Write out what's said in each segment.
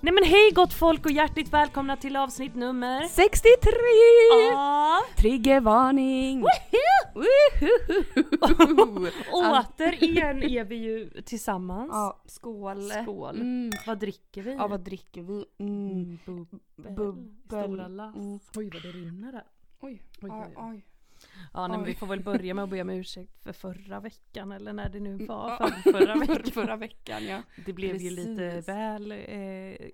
Nej men hej gott folk och hjärtligt välkomna till avsnitt nummer... 63! Ah, Triggervarning! återigen är vi ju tillsammans. Ja, skål! Skål. Mm. Vad dricker vi? Ja, vad dricker vi? Mm. Mm, bubbel. Bubbel. Stora lass. Mm. Oj vad det rinner där. Oj, Oj, oj, oj. oj. Ja nej, men Oj. vi får väl börja med att be om ursäkt för förra veckan eller när det nu var. Mm, Ja. För förra veckan. Förra veckan ja. Det blev ju lite Precis. väl eh,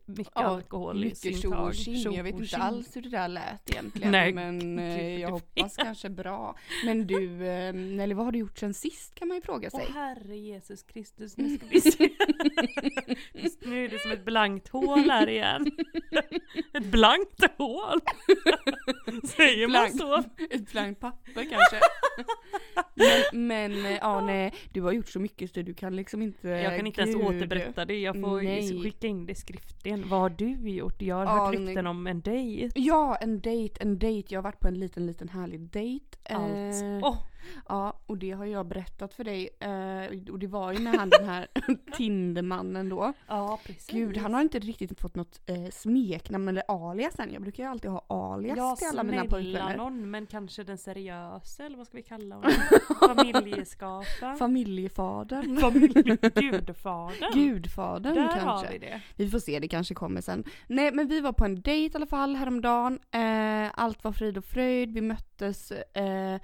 mycket Ja, alkohol i Mycket tjo och tjing. Jag vet inte Tjo-och-tjing. alls hur det där lät egentligen. Nej, men eh, jag hoppas kanske bra. Men du, eh, Nelly, vad har du gjort sen sist kan man ju fråga Åh sig. herre Jesus Kristus, nu ska vi se. Just nu är det som ett blankt hål här igen. Ett blankt hål! Säger Blankt. man så? Ett blankt papper kanske. men, men eh, ja, nej, du har gjort så mycket så du kan liksom inte. Jag kan inte ens Gud. återberätta det, jag får Nej. skicka in det skriftligen. Vad har du gjort? Jag har Ja, hört men- rykten om en dejt. Ja, en dejt, en dejt. Jag har varit på en liten, liten härlig dejt. Allt. Eh, Åh, Ja, och det har jag berättat för dig. Eh, och det var ju när han den här Tindermannen då. ja precis. Gud, han har inte riktigt fått något eh, smeknamn eller alias än. Jag brukar ju alltid ha alias Ja, till alla mina snälla pojkvänner. någon, men kanske den seriösa eller vad ska vi kalla honom? Familjeskaparen? Familjefadern. Familjegudfadern? Gudfadern Där kanske. har vi det. Vi får se, det kanske kommer sen. Nej men vi var på en dejt i alla fall häromdagen. Eh, allt var frid och fröjd. Vi möttes eh,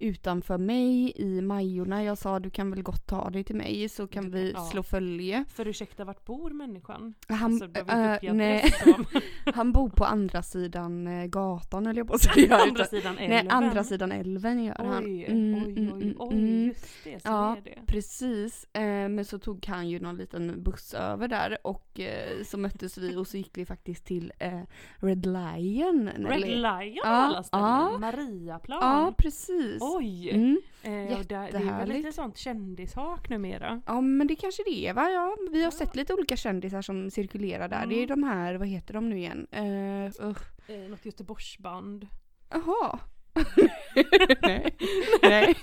utanför mig i Majorna. Jag sa du kan väl gott ta dig till mig så kan vi Ja. slå följe. För ursäkta, vart bor människan? Han, Alltså, du behöver inte uppge eh, nej, adress om. han bor på andra sidan eh, gatan höll jag på att säga. andra sidan älven. Nej, andra sidan älven gör han. Oj, Mm, oj, mm, oj, mm, oj, mm. just det. Så Ja. är det. Precis, eh, men så tog han ju någon liten buss över där och eh, så möttes vi och så gick vi faktiskt till eh, Red Lion. Red Nelly. Lion av Ja, alla ställen. ja. Mariaplan. Ja, precis. Oj! Mm. Eh, och där, det är väl lite jättehärligt. sånt kändishak numera. Ja men det kanske det är va? Ja, vi har sett lite olika kändisar som cirkulerar där. Det är Mm. de här, vad heter de nu igen? Eh, usch. Eh, något Göteborgsband. Jaha. nej. nej,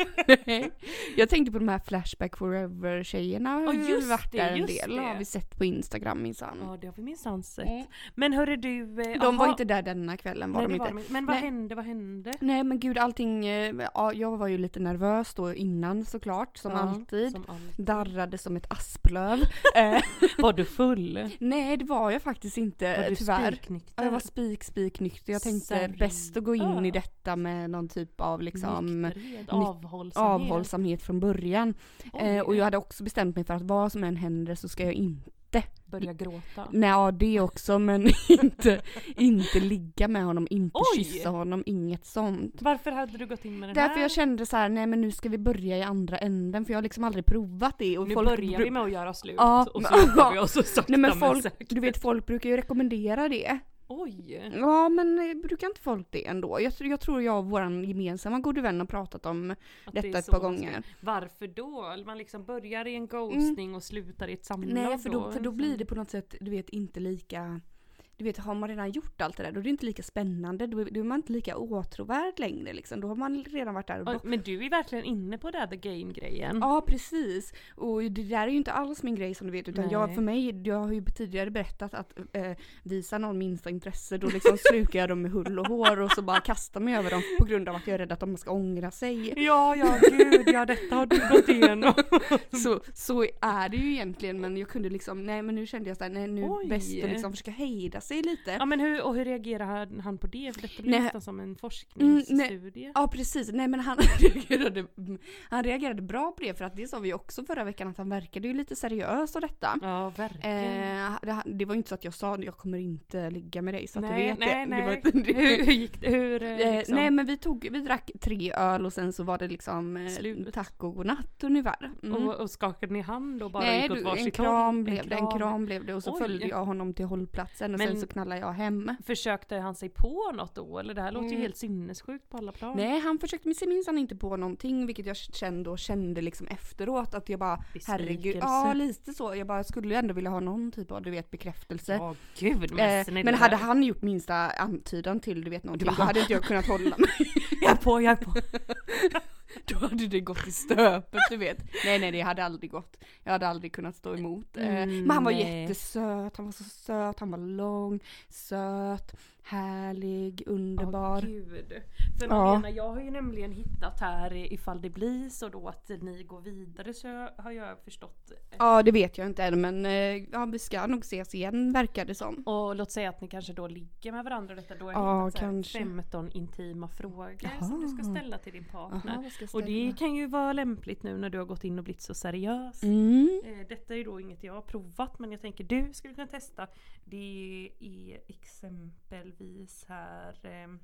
nej. Jag tänkte på de här Flashback Forever-tjejerna. har ju just varit det, där en just del det. har vi sett på Instagram minsann. Ja, det har vi minsann sett. Mm. Men hörru du... Eh, De var aha. inte där denna kvällen var Nej, de det inte. var de inte. Men vad Nej. hände, vad hände? Nej men gud allting, eh, ja, jag var ju lite nervös då innan såklart som Ja, alltid. Som alltid. Darrade som ett asplöv. eh, Var du full? nej det var jag faktiskt inte Var du Eh, Eh, tyvärr. spiknykter? Ja, jag var spik spik nykter. Jag tänkte Serr- bäst att gå in Ja. i detta med någon typ av liksom Ah. Nykterhet, avhållsamhet. avhållsamhet från början. Eh, och jag hade också bestämt mig för att vad som än händer så ska jag inte, Börja gråta. nej ja, det också men inte, inte ligga med honom, inte Oj! kyssa honom, inget sånt. Varför hade du gått in med den Därför här? jag kände så här, nej men nu ska vi börja i andra änden för jag har liksom aldrig provat det. Och nu folk börjar vi bru- med att göra slut Ja, och men- så jobbar vi oss så sakta Nej men men säkert. folk, du vet folk brukar ju rekommendera det. Oj! Ja men eh, brukar inte folk det ändå? Jag, tr- jag tror jag och våran gemensamma gode vän har pratat om att det är detta ett så par man ska- gånger. Mm. Varför då? Man liksom börjar i en ghostning och slutar i ett samlag liksom. Nej för då, för då Så- blir det på något sätt, du vet inte lika du vet, har man redan gjort allt det där då är det inte lika spännande, då är, då är man inte lika åtråvärd längre liksom. Då har man redan varit där och Oj, bott. Men du är verkligen inne på det här the game-grejen. Ja precis. Och det där är ju inte alls min grej som du vet utan Nej. jag, för mig, jag har ju tidigare berättat att eh, visa någon minsta intresse då liksom slukar jag dem med hull och hår och så bara kastar mig över dem på grund av att jag är rädd att de ska ångra sig. Ja, ja, gud, ja detta har du gått igenom. Så, så är det ju egentligen men jag kunde liksom, nej men nu kände jag såhär, nej nu Oj. bäst att liksom försöka hejda sig lite. Ja men hur, och hur reagerar han, han på det? För detta blir Nej. nästan som en forskningsstudie. Ja precis, nej men han reagerade, han reagerade bra på det för att det sa vi ju också förra veckan att han verkade ju lite seriös och detta. ja, verkligen. Eh, det, det var ju inte så att jag sa jag kommer inte ligga med dig så att du nej, vet nej, det. nej. det, var inte, hur, hur gick det? Hur, eh, Eh, liksom? Nej men vi tog, vi drack tre öl och sen så var det liksom eh, Slut. tack och godnatt ungefär. Mm. och, och skakade ni hand och bara Nej, gick åt du, varsitt en håll? kram blev det, en kram blev det och så Oj. följde jag honom till hållplatsen och Men sen Men- så knallar jag hem. Försökte han sig på något då? Eller det här låter ju Mm. helt sinnessjukt på alla plan. Nej han försökte sig minsann inte på någonting vilket jag kände och kände liksom efteråt att jag bara herregud. Ja lite så. Jag bara skulle ju ändå vilja ha någon typ av du vet bekräftelse. Åh gud Eh, men snälla. men hade han gjort minsta antydan till du "Ah!" vet någonting bara, då hade inte jag kunnat hålla mig. Jag är på, jag är på. Då hade det gått i stöpet du vet. Nej nej det hade aldrig gått. Jag hade aldrig kunnat stå emot. Eh, Mm, men han var nej. jättesöt, han var så söt, han var lång, söt, härlig, Åh, underbar. gud. För Ja. Malena, jag har ju nämligen hittat här eh, ifall det blir så då att ni går vidare så jag- har jag förstått. Ja det vet jag inte än men eh, ja, vi ska nog ses igen verkar det som. Och låt säga att ni kanske då ligger med varandra och detta då har jag Ja, hittat så här kanske. 15 intima frågor som Jaha. du ska ställa till din partner. Aha, vad ska jag Och det ställa? kan ju vara lämpligt nu när du har gått in och blivit så seriös. Mm. Eh, Detta är ju då inget jag har provat men jag tänker du skulle kunna testa. Det är exempelvis här... ehm,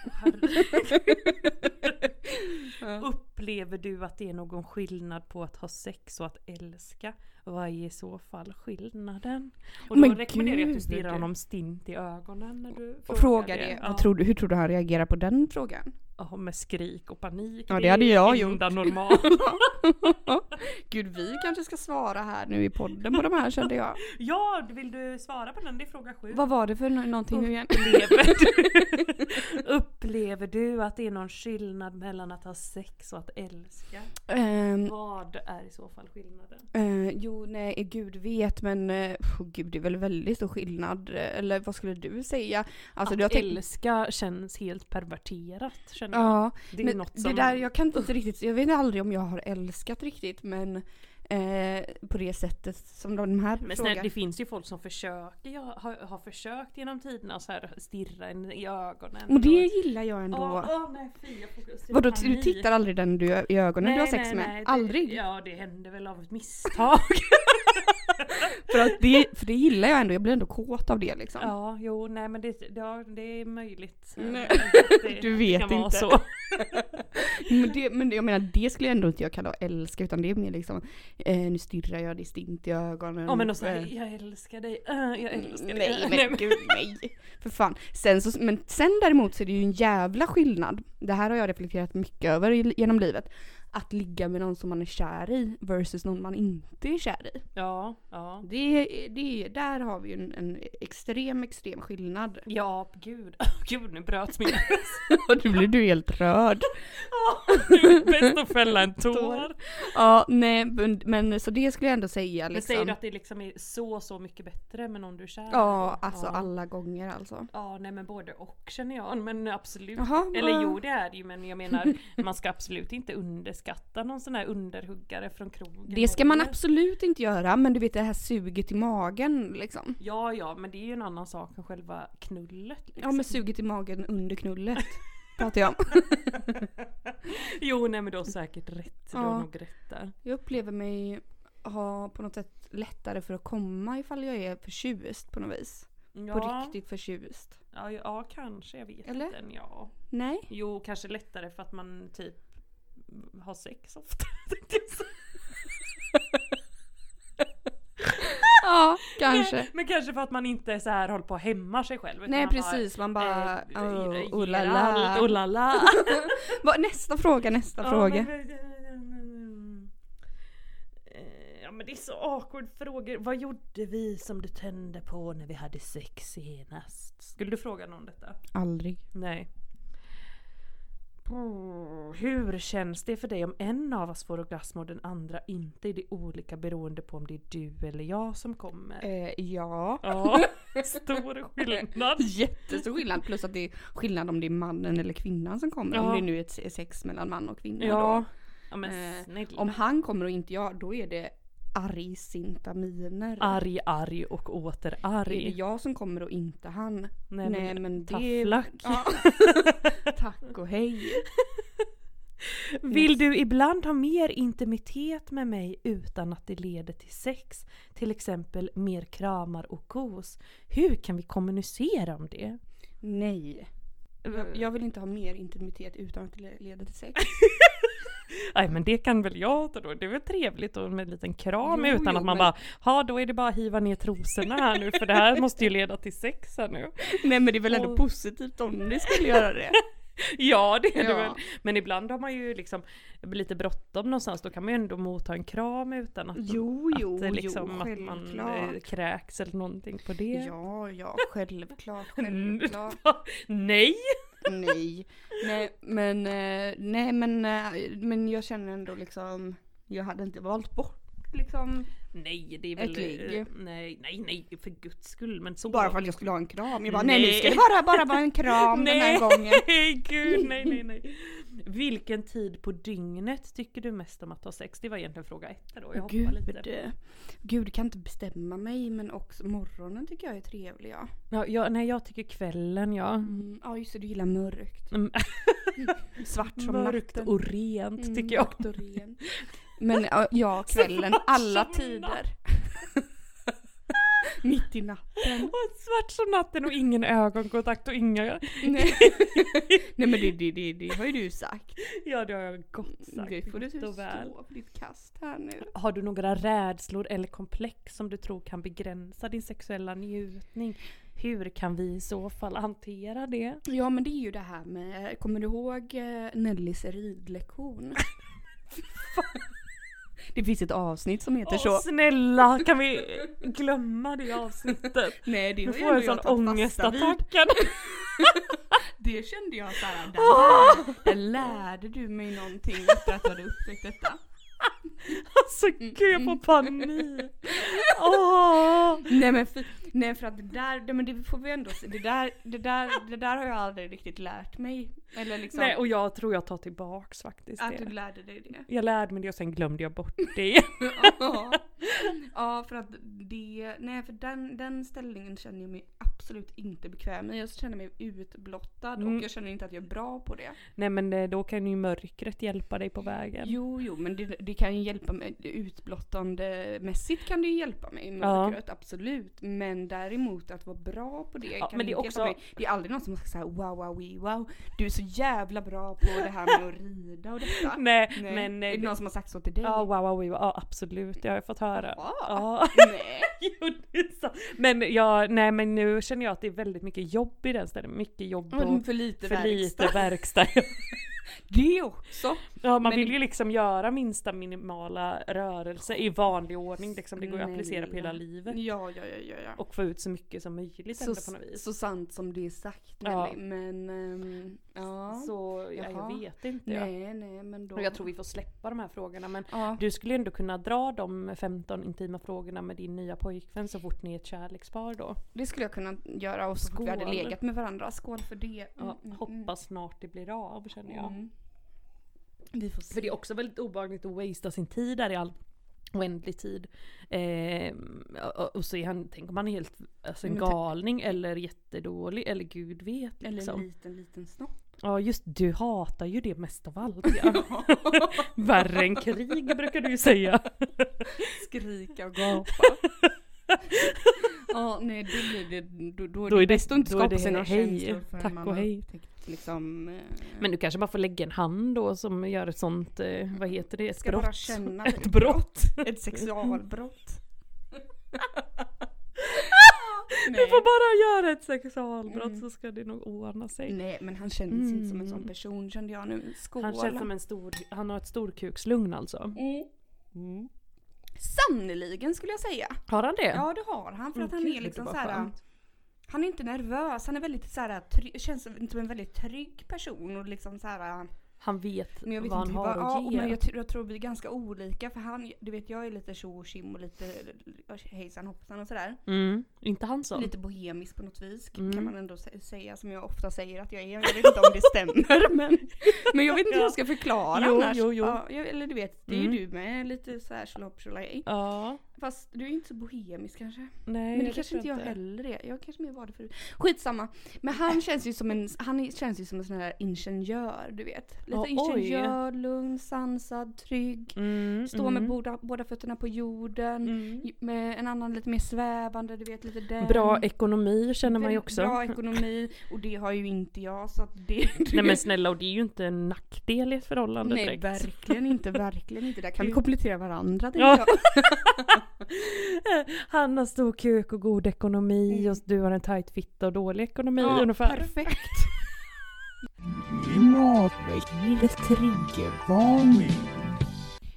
herregud. Upplever du att det är någon skillnad på att ha sex och att älska? Vad är i så fall skillnaden? Och då Men rekommenderar jag att du gud. stirrar honom stint i ögonen när du Och fråga det. Ja. Vad tror du, hur tror du han reagerar på den frågan? Ja, med skrik och panik. Ja, det hade jag är enda normalt. Gud vi kanske ska svara här nu i podden på de här kände jag. Ja, vill du svara på den? Det är fråga sju. Vad var det för nå- någonting nu igen? Upplever du, upplever du att det är någon skillnad mellan att ha sex och att älska? Ehm, Vad är i så fall skillnaden? eh, jo nej gud vet men eh, oh, gud det är väl väldigt stor skillnad. Eh, Eller vad skulle du säga? Alltså, att du har tänkt- älska känns helt perverterat känner jag. Ja. det är men något det som... där, jag kan inte riktigt, jag vet aldrig om jag har älskat riktigt men eh, på det sättet som de här men snälla, frågan. det finns ju folk som försöker, jag har, har försökt genom tiderna så här stirra en i ögonen. Och det gillar jag ändå. ändå. Åh nej fy jag får Vadå t- du tittar aldrig den du i ögonen du har sex med? aldrig? Det, ja det hände väl av ett misstag. För, att det, för det gillar jag ändå, jag blir ändå kåt av det liksom. Ja, jo, nej men det, det, ja, det är möjligt. Nej. Att det Du vet kan vara inte. Så. Men, det, men jag menar det skulle jag ändå inte jag kalla att älska utan det är mer liksom eh, nu stirrar jag distinkt i ögonen. Ja men och så Eh, mm, här, jag älskar dig, äh, jag älskar dig. Nej Nej, men gud nej. För fan. Sen så, men sen däremot så är det ju en jävla skillnad. Det här har jag reflekterat mycket över i- genom livet. Att ligga med någon som man är kär i versus någon man inte är kär i. Ja, ja. Det, det, där har vi ju en, en extrem, extrem skillnad. Ja, gud. Gud, nu bröts min Och nu blir du helt rörd. Nu är det Bäst att fälla en tår. liksom. Tår. liksom. Ja, nej men, men så det skulle jag ändå säga Men liksom. säger du att det liksom är så, så mycket bättre med någon du är kär i? Ja, alltså ja. alla gånger alltså. Ja, nej men både och känner jag. Men absolut. Jaha, Eller vad- jo det är det ju men jag menar man ska absolut inte underskatta någon sån här underhuggare från krogen. Det ska man Eller- absolut inte göra men du vet det här suget i magen liksom. Ja, ja, men det är ju en annan sak än själva knullet. Liksom. Ja men suget i magen under knullet. Pratar jag om. Jo, nej men du har säkert rätt. Du Ja. har nog rätt där. Jag upplever mig ha på något sätt lättare för att komma ifall jag är förtjust på något vis. Ja, På riktigt förtjust. Ja, ja, kanske. Jag vet Eller? inte. Ja. Nej. Jo, kanske lättare för att man typ har sex ofta. tänkte jag säga. Ja, kanske. Men kanske för att man inte så här håller på och hämmar sig själv. utan Nej man precis, man bara... eh, ger Oh, allt, oh la la. oh la la. Va, Nästa fråga, nästa Ja, fråga. men- Eh, Ja men det är så awkward frågor. Vad gjorde vi som du tände på när vi hade sex senast? Skulle du fråga någon detta? Aldrig. Nej. Mm, Hur känns det för dig om en av oss får orgasm och den andra inte? Är det olika beroende på om det är du eller jag som kommer? Eh, ja. Ja, stor skillnad. Jättestor skillnad. Plus att det är skillnad om det är mannen eller kvinnan som kommer. Ja. Om det nu är ett se- sex mellan man och kvinna Ja, ja Eh, men snälla. då. Om han kommer och inte jag, då är det argsinta miner. Arg, arg och åter Är det arg. jag som kommer och inte han? Nej, Nej men, men det... tafflack. Ja. Tack och hej. Vill du ibland ha mer intimitet med mig utan att det leder till sex? Till exempel mer kramar och kos. Hur kan vi kommunicera om det? Nej. Jag, jag vill inte ha mer intimitet utan att det leder till sex. Nej men det kan väl jag ta då. Det är väl trevligt och med en liten kram Jo, utan jo, att man men- bara, ja då är det bara att hiva ner trosorna här nu för det här måste ju leda till sex här nu. Nej men det är väl Och- ändå positivt om ni skulle göra det. Ja det är det Ja. väl. Men ibland har man ju liksom lite bråttom någonstans, då kan man ju ändå motta en kram utan att Jo, jo, att, det liksom, jo, att man eh, självklart. kräks eller någonting på det. Ja, ja, självklart, Mm. självklart. Nej! nej. nej, men, eh, nej men, eh, men jag känner ändå liksom, jag hade inte valt bort liksom. Nej det är väl... Ett ligg. eh, Nej, nej, nej för guds skull men så... Bara för att jag skulle ha en kram. Jag bara, nej, nu ska Nej. det bara, bara vara en kram den här gången. Nej gud, nej nej nej. Vilken tid på dygnet tycker du mest om att ha sex? Det var egentligen fråga ett här då, jag hoppar lite. Gud, eh, gud kan inte bestämma mig men också morgonen tycker jag är trevlig ja. Ja, jag, nej jag tycker kvällen ja. Mm, ja just det, du gillar mörkt. Mm. Svart som Mörkt natten. och rent Mm, tycker jag. mörkt och rent. Men ja, ja, kvällen, Svart alla som tider. Mitt i natten. Och svart som natten och ingen ögonkontakt och inga... Nej, Nej men det, det, det, det har ju du sagt. Ja det har jag gott sagt. Det får du vitt stå och väl. för ditt kast här nu. Har du några rädslor eller komplex som du tror kan begränsa din sexuella njutning? Hur kan vi i så fall hantera det? Ja men det är ju det här med, kommer du ihåg eh, Nellys ridlektion? det finns ett avsnitt som heter Åh, så. snälla kan vi glömma det avsnittet? Nej det Nu har får jag en ju ändå sån jag tagit fasta vid. ångestattack. Det kände jag såhär, där, där lärde du mig någonting efter att du hade upptäckt detta. Alltså gud jag får panik. Åh! Nej men för, nej för att det där, nej, men det får vi ändå se. Det där, det, där, det där har jag aldrig riktigt lärt mig. Eller liksom Nej och jag tror jag tar tillbaks faktiskt att du det. lärde dig det. Jag lärde mig det och sen glömde jag bort det igen. ja. ja för att det, nej för den, den ställningen känner jag mig absolut inte bekväm i. Jag känner mig utblottad Mm. och jag känner inte att jag är bra på det. Nej men eh, då kan ju mörkret hjälpa dig på vägen. Jo, jo, men det, det kan ju hjälpa mig. Utblottande mässigt kan det ju hjälpa mig Ja. i mörkret, absolut. Men däremot att vara bra på det Ja, kan men det inte är också- hjälpa mig. Det är aldrig någon som säger såhär wow, wow, wee, wow. Du är så jävla bra på det här med att rida och detta. Nej, Nej. men... är eh, det någon som har sagt så till dig? Ja, wow, wow, wow, ja absolut, det har jag fått höra. Ja. Ja. Nej. Jo, det är sant. men, ja, nej, men nu känner jag att det är väldigt mycket jobb i den stället. Mycket jobb och Men för lite för lite verkstad. verkstad. Det också. Ja, man Men- vill ju liksom göra minsta minimala rörelse i vanlig ordning. Liksom. Det går ju att applicera på hela Snälla. livet. Ja, ja, ja, ja. ja. Och få ut så mycket som möjligt Så, ändå på något vis. så sant som det är sagt Ja. Nelly, men ehm, ja. Så ja, jag Jaha. vet inte. jag. nej, nej, men då. Och jag tror vi får släppa de här frågorna. Men ja. du skulle ju ändå kunna dra de 15 intima frågorna med din nya pojkvän så fort ni är ett kärlekspar då. Det skulle jag kunna göra och så fort vi hade Skål. legat med varandra. Skål för det. Ja, Mm, mm, hoppas snart det blir av känner jag. mm. Mm. Vi får se. För det är också väldigt obehagligt att wastea sin tid där i all oändlig tid. Eh, och, och så är han, tänk om han är helt alltså en Men tänk- galning eller jättedålig eller gud vet Eller en liksom. liten, liten snopp. Ja just du hatar ju det mest av allt ja. Värre än krig brukar du ju säga. Skrika och gapa. Ja, nej då blir det, då, då, Då är är det det- bäst att inte då är skapa det sina hej, känslor förrän tack man och har hej. upptäckt liksom. eh, Men du kanske bara får lägga en hand då som gör ett sånt, eh, vad heter det, ett ska brott. bara känna Ett brott. ett sexualbrott. Du nej. får bara göra ett sexualbrott Mm. så ska det nog ordna sig. nej men han känns inte som en sån Mm. person kände jag nu. Skål. Han känns som en stor, han har ett storkukslugn alltså. Mm. Sannerligen skulle jag säga. Har han det? Ja det har han för att han är liksom så här. Han är inte nervös, han är väldigt så här, try- känns som som en väldigt trygg person och liksom så här. Han vet, Men jag vet vad inte han har vad, ja, att och ge. men jag, tror- jag tror vi är ganska olika för han, du vet jag är lite tjo och tjim och lite hejsan hoppsan och sådär. Mm. Inte han så? Lite bohemisk på något vis Mm. kan man ändå sä- säga som jag ofta säger att jag är. Jag vet inte om det stämmer men, men jag vet inte hur jag ska förklara Jo, annars. jo, jo. Ja, jag, eller du vet, det är ju Mm. du med lite såhär tjolahopp tjolahej. Ja. Fast du är ju inte så bohemisk kanske. Nej, Men det kanske tror inte jag heller är. Jag kanske mer var det förut. Skitsamma. Men han känns ju som en, han är- känns ju som en sån här ingenjör, du vet. Lite Ja, oj. ingenjör, lugn, sansad, trygg. Mm, Stå mm, med båda, båda fötterna på jorden. mm. Ju- Med en annan lite mer svävande, du vet lite den. Bra ekonomi känner man ju Väldigt också. Mm. Bra ekonomi och det har ju inte jag så att det... Nej men snälla och det är ju inte en nackdel i ett förhållande Nej direkt. verkligen inte, verkligen inte. Där kan vi Det- komplettera varandra tänker Ja. jag. Han har stor kuk och god ekonomi och du har en tight fitta och dålig ekonomi Mm. Ja, ungefär. Perfekt. Klimatväckande triggervarning.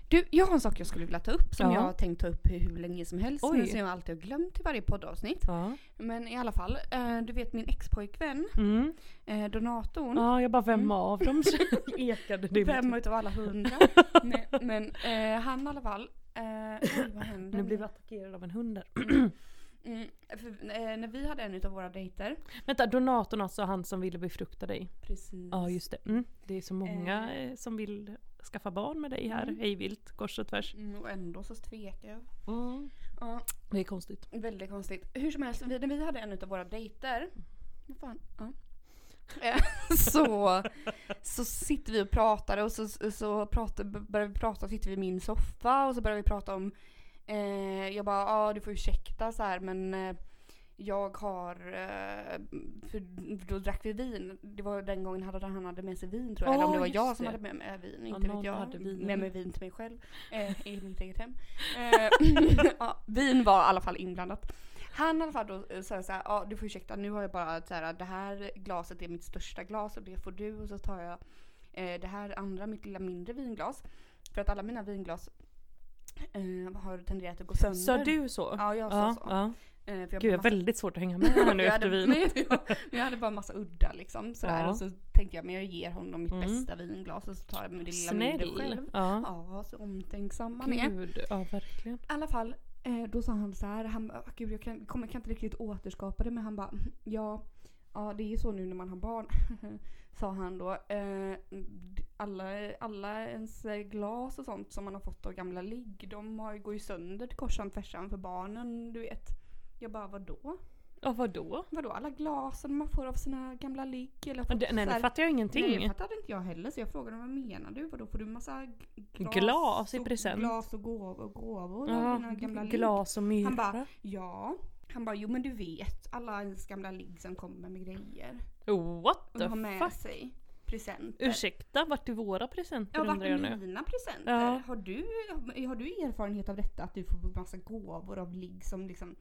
Du, jag har en sak jag skulle vilja ta upp som Ja. jag har tänkt ta upp hur, hur länge som helst Oj. men som jag alltid har glömt i varje poddavsnitt. Ja. Men i alla fall, eh, du vet min expojkvän, Mm. eh, donatorn. ja, jag bara vem Mm. av dem ekade det? Fem utav alla hundra. Nej, men eh, han i alla fall. Eh, oj, vad händer? Nu blev vi attackerade av en hund där. mm, för, eh, När vi hade en utav våra dejter. Vänta, donatorn alltså han som ville befrukta dig? Precis. Ja just det. Mm. Det är så många Eh. eh, som vill skaffa barn med dig här Mm. hejvilt kors och tvärs. Mm, och ändå så tvekar jag. Ja, Det är konstigt. Väldigt konstigt. Hur som helst, vi, när vi hade en av våra dejter. Vad fan? Ja. Eh, så, så sitter vi och pratar och så, så pratar, börjar vi prata, sitter vi i min soffa och så börjar vi prata om eh, Jag bara, ja du får ursäkta så här men eh, jag har, eh, för då drack vi vin. Det var den gången hade han hade med sig vin tror jag. Eller om Ja, det var just jag som det. hade med mig eh, vin. Ja, Inte någon vet jag. hade vinen. Med mig vin till mig själv. Eh, I mitt eget hem. Eh, ja, vin var i alla fall inblandat. Han i alla fall då eh, sa såhär, ja du får ursäkta nu har jag bara såhär, det här glaset är mitt största glas och det får du och så tar jag eh, det här andra, mitt lilla mindre vinglas. För att alla mina vinglas eh, har tenderat att gå sönder. Sa du så? Ja jag sa ja, så. ja. Eh, för jag Gud jag bara- har väldigt svårt att hänga med här nu jag efter hade, vinet. nej, jag, men jag hade bara massa udda liksom sådär. Ja. Och så tänkte jag men jag ger honom mitt Mm. bästa vinglas och så tar jag med det lilla mindre Snäll. själv. Ja. Ja, så omtänksam man är. I Gud, ja verkligen. alla fall, eh, då sa han så här, han bara, gud jag kan, kommer, kan inte riktigt återskapa det men han bara, "Mm, ja, ja det är ju så nu när man har barn. sa han då. Eh, d- alla, alla ens glas och sånt som man har fått av gamla ligg, de har, ju- går ju sönder till korsan tvärsan för barnen, du vet. Jag bara, vadå? Ja vadå? Vadå alla glasen man får av sina gamla ligg? Eller Ja, det- Nej nu fattar jag Nej, det ingenting. fattade inte jag heller så jag frågade vad menar du? Vadå får du massa g- glas, Glas i och- present? Glas och gåvor, gåvor av Ja, dina gamla ligg? glas och myrra. Han bara- Ja. Han bara jo men du vet alla ens gamla ligg som kommer med grejer. What Och the har med fuck? sig presenter. Ursäkta, vart är våra presenter Ja, vart undrar jag är nu? mina presenter? Ja. Har, du, har du erfarenhet av detta? Att du får massa gåvor av ligg som liksom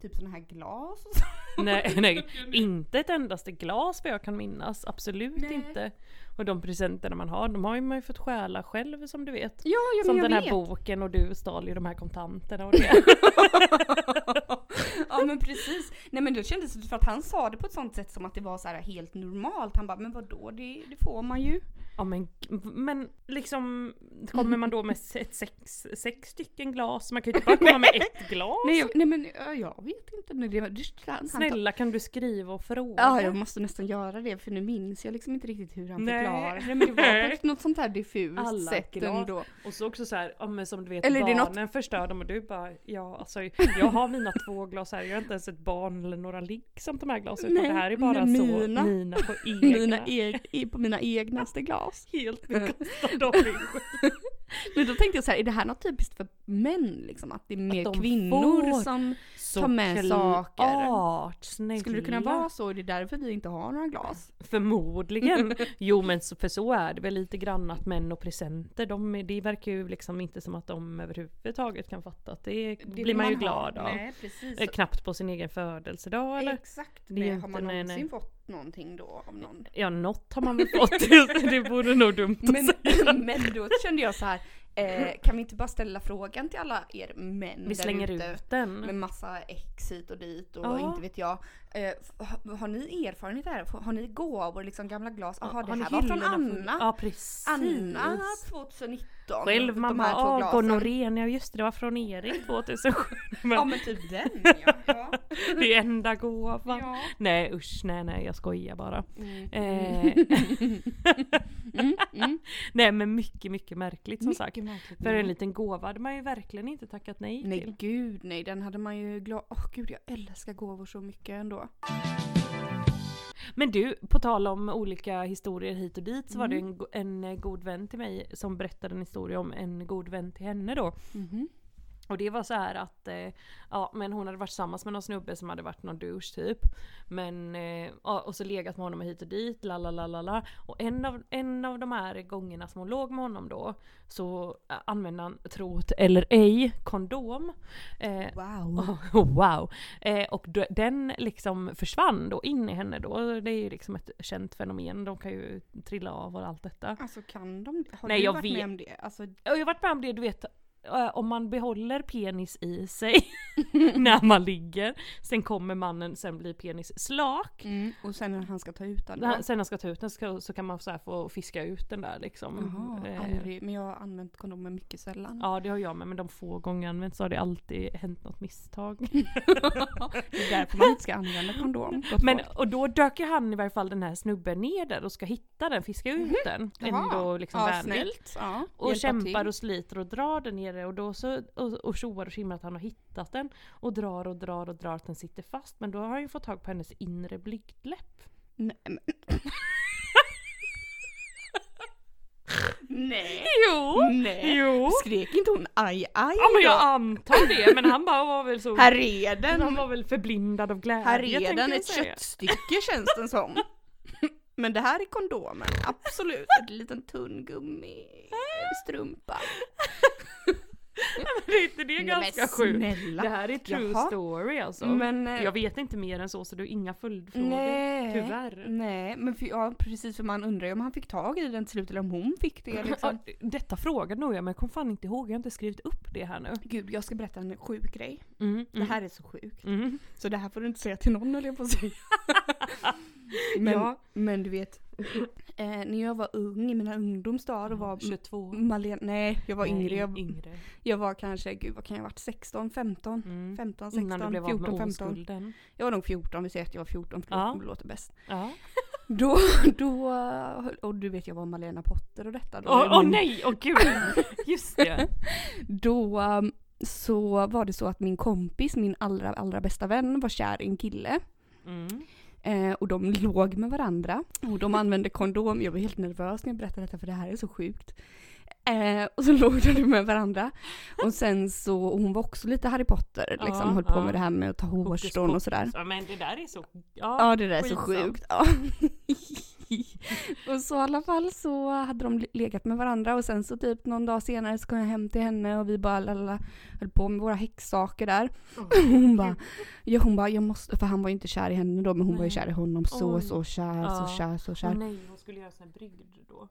Typ såna här glas och så? Nej, nej, inte ett endaste glas vad jag kan minnas. Absolut Nej. inte. Och de presenterna man har, de har ju man ju fått stjäla själv som du vet. Ja, ja som men jag den här vet. boken och du stal ju de här kontanterna och det. ja men precis. Nej men då kändes det för att han sa det på ett sånt sätt som att det var så här helt normalt. Han bara men vadå det, det får man ju. ja, men, men liksom, kommer man då med ett sex, sex stycken glas? Man kan ju inte bara komma med ett glas. Nej, jag, nej men ja, jag vet inte. Nu, det, var- det, han- han, Snälla kan du skriva och fråga? Ja jag måste nästan göra det för nu minns jag liksom inte riktigt hur han Nej. förklarade det. Men det var på ett- något sånt här diffust Alla sätt glas. ändå. Och så också så här, ja, men som du vet Eller är det något- barnen förstör dem och du bara ja alltså jag har mina två glas här, jag har inte ens ett barn eller några ligg som de här glasen utan Nej, det här är bara men så mina- mina på egna. Mina eg, i- på mina egnaste glas. Helt bekostade av dig själv. Men då tänkte jag så här, är det här något typiskt för män liksom? Att det är mer de kvinnor får som... Så Ta med saker. klart, snälla. Skulle det kunna vara så? Är det därför vi inte har några glas? Förmodligen. Jo men så, för så är det väl lite grann att män och presenter, de, är- det verkar ju liksom inte som att de överhuvudtaget kan fatta att det, Det blir man, ju ha. glad av. Nej, precis. Eh, Knappt på sin egen födelsedag eller? Exakt Det är ju det. Har man inte- nej, någonsin nej. fått någonting då av någon? Ja något har man väl fått, det vore nog dumt att säga. Men, men då kände jag så här, eh, kan vi inte bara ställa frågan till alla er män Vi där slänger ute ut den. Med massa ex hit och dit och Ja. inte vet jag. Eh, har, har ni erfarenhet här? Har ni gåvor, liksom gamla glas? Jaha, det Har ni här var från hyllorna full- Anna. Ja precis. Anna 2019. Själv de mamma, här två ja glasen. gonorrén, ja just det det var från Erik 2007. Men Ja men typ den ja. ja. Det är enda gåvan. ja. Nej usch nej nej jag skojar bara. Mm. Eh, Mm, mm. Nej men mycket, mycket märkligt som sagt. Mycket märkligt. För en liten gåva hade man ju verkligen inte tackat nej, Nej till. gud nej, den hade man ju glad... Åh gud jag älskar gåvor så mycket ändå. Men du, på tal om olika historier hit och dit så var det en, go- en eh, god vän till mig som berättade en historia om en god vän till henne då. Och det var så här att eh, ja, men hon hade varit tillsammans med någon snubbe som hade varit någon douche typ. Men, eh, ja, och så legat med honom hit och dit, la la la la la. Och en av, en av de här gångerna som hon låg med honom då så eh, använde han, trot eller ej, kondom. Eh, Wow. Oh, Wow! Eh, och d- den liksom försvann då in i henne då. Det är ju liksom ett känt fenomen. De kan ju trilla av och allt detta. Alltså kan de Har Nej, du jag varit vet- med om det? Alltså, Och jag har varit med om det, du vet, eh, om man behåller penis i sig när man ligger. Sen kommer mannen, sen blir penis slak. Och sen när han ska ta ut den. När han- Sen när han ska ta ut den så, så kan man så här få fiska ut den där liksom. Jaha, Eh, aldrig. Men jag har använt kondomer mycket sällan. Ja det har jag med men de få gånger jag använt så har det alltid hänt något misstag. Det är därför man inte ska använda kondom. gott Men, folk. och då dök ju han i varje fall den här snubben ner där och ska hitta den, fiska ut den. Ändå Mhm. Jaha. liksom ja, vänligt. snällt. Ja, Och hjälpa kämpar till. och sliter och drar den nere och då så och, och tjoar och tjimmar att han har hittat den. Och drar och drar och drar att den sitter fast. Men då har han ju fått tag på hennes inre blygdläpp. Nej, men... Nej. Jo! Nej. Jo! Skrek inte hon aj aj? Ja men jag då? antar det men han bara var väl så... Här är han den. var väl förblindad av glädje Här är tänkte den jag ett säga. köttstycke känns den som. Men det här är kondomen, absolut. En liten tunn Eh, gummistrumpa. Det är inte det ganska sjukt? Det snälla. här är true Jaha. story alltså. Men, eh, Jag vet inte mer än så så du har inga följdfrågor. nej, Tyvärr. Nej, men för, ja, precis för man undrar ju om han fick tag i den till slut eller om hon fick det. Liksom. Ja, detta frågade nog jag men jag kom fan inte ihåg, jag har inte skrivit upp det här nu. Gud, jag ska berätta en sjuk grej. Mm, Det här är så sjukt. mm, mm. Så det här får du inte säga till någon höll jag på att säga. men, Ja. men du vet, eh, när jag var ung i mina ungdomsdagar och var 22. Malena, nej jag var Nej, yngre. Jag, Mm. yngre. jag var kanske, gud vad kan jag ha varit, 16, 15? Mm. 15, Innan du 16, blev av 14, med 15. oskulden. Jag var nog 14, vi säger att jag var 14 för Ja. det låter bäst. Ja. Då, då, och du vet jag var Malena Potter och detta då. Åh Men- åh, nej, åh gud! Just det. Då um, så var det så att min kompis, min allra, allra bästa vän var kär i en kille. Mm. Eh, och de låg med varandra. Och de använde kondom. Jag var helt nervös när jag berättade detta för det här är så sjukt. Eh, och så låg de med varandra. Och sen så, och hon var också lite Harry Potter liksom. Ja, höll på ja. med det här med att ta hårstrån och sådär. Ja, men det där är så... Ja det där är så skitsamt. sjukt. Ja. och så i alla fall så hade de legat med varandra och sen så typ någon dag senare så kom jag hem till henne och vi bara lalala, höll på med våra häxsaker där. hon bara, ja, hon bara jag måste, för han var ju inte kär i henne då men hon var Nej. ju kär i honom så Oj. så kär Ja. så kär så kär. Åh nej, hon skulle göra sån här brygd då.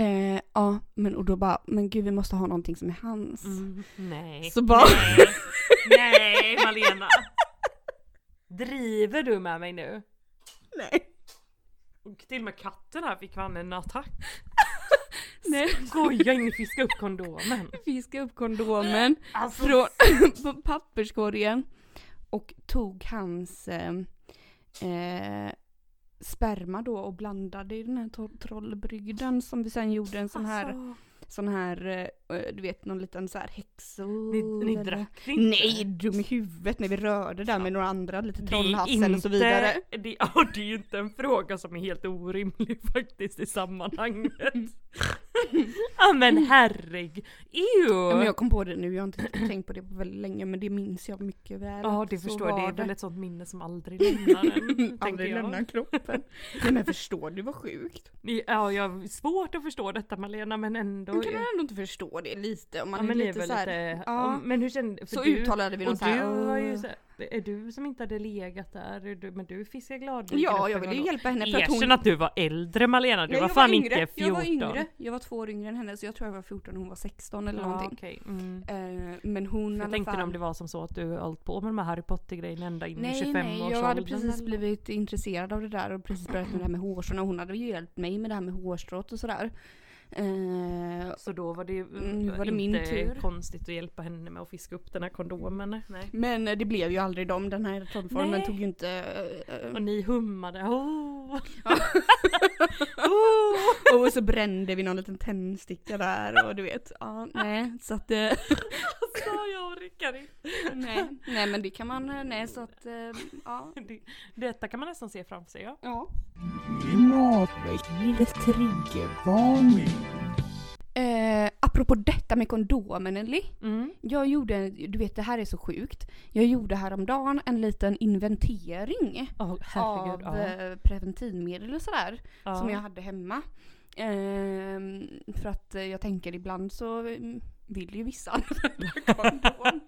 Eh, ja men och då bara, men gud vi måste ha någonting som är hans. Mm. Nej. Så bara, Nej. nej, Malena. Driver du med mig nu? nej. Och till och med katten här fick fan en attack. nej. Goja in och fiska upp kondomen. Fiska upp kondomen. Alltså, från på papperskorgen och tog hans eh, eh, sperma då och blandade i den här to- trollbrygden som vi sen gjorde en sån Alltså. här, sån här eh, du vet någon liten så här häxo... ni, ni eller- drack det inte? Nej, dum i huvudet när vi rörde där med några andra, lite Det är trollhassel och så vidare. inte- Det, ja, det är ju inte en fråga som är helt orimlig faktiskt i sammanhanget. ja men herregud. Ja, Men Ew. jag kom på det nu, jag har inte riktigt tänkt på det på väldigt länge men det minns jag mycket väl. Ja det Så förstår jag, det var är väl ett sånt minne som aldrig lämnar en. tänker Aldrig jag. lämnar kroppen. Nej men förstår du vad sjukt? Ja jag har svårt att förstå detta Malena men ändå. Då kan man ändå inte förstå det lite om man ja, men är det lite väl såhär. lite- ja. om- Men hur kände för så du? uttalade vi och någon du såhär. har ju "Åh." så här, är du som inte hade legat där, är du, men du fiskar gladeligen Ja, upp jag en ville ju gång. hjälpa henne för att hon... Erkänn att du var äldre Malena, du Nej, var jag fan yngre. inte 14. Jag var yngre. Jag var två år yngre än henne så jag tror jag var 14 och hon var 16 eller Ja, någonting. okej. Mm. Eh, men hon i Jag alla tänkte fall... om det var som så att du har hållit på med de här Harry Potter-grejerna ända in i Nej 25 nej, jag hade precis blivit intresserad av det där och precis börjat med det här med hårstrån och hon hade ju hjälpt mig med det här med hårstrået och sådär. Eh, Så då var det ju Mm, nu var det inte min tur. konstigt att hjälpa henne med att fiska upp den här kondomen. Nej. Men eh, det blev ju aldrig dem. Den här trollformen Nej. tog ju inte... eh, eh, Och ni hummade. Oh. oh. Och så brände vi någon liten tändsticka där och du vet. Ja, nej. Så att... eh, Alltså jag orkar inte. nej. nej, men det kan man... eh, Nej, så att... eh, Ja. Det, detta kan man nästan se framför sig. Ja. ja. Klimatvänligt triggervarning. Eh, apropå detta med kondomen Nelly. Mm. Jag gjorde, du vet det här är så sjukt. Jag gjorde häromdagen en liten inventering Oh, herregud. av ja. eh, preventivmedel och sådär. Ja. Som jag hade hemma. Ehm, för att eh, jag tänker ibland så mm, vill ju vissa använda kondom.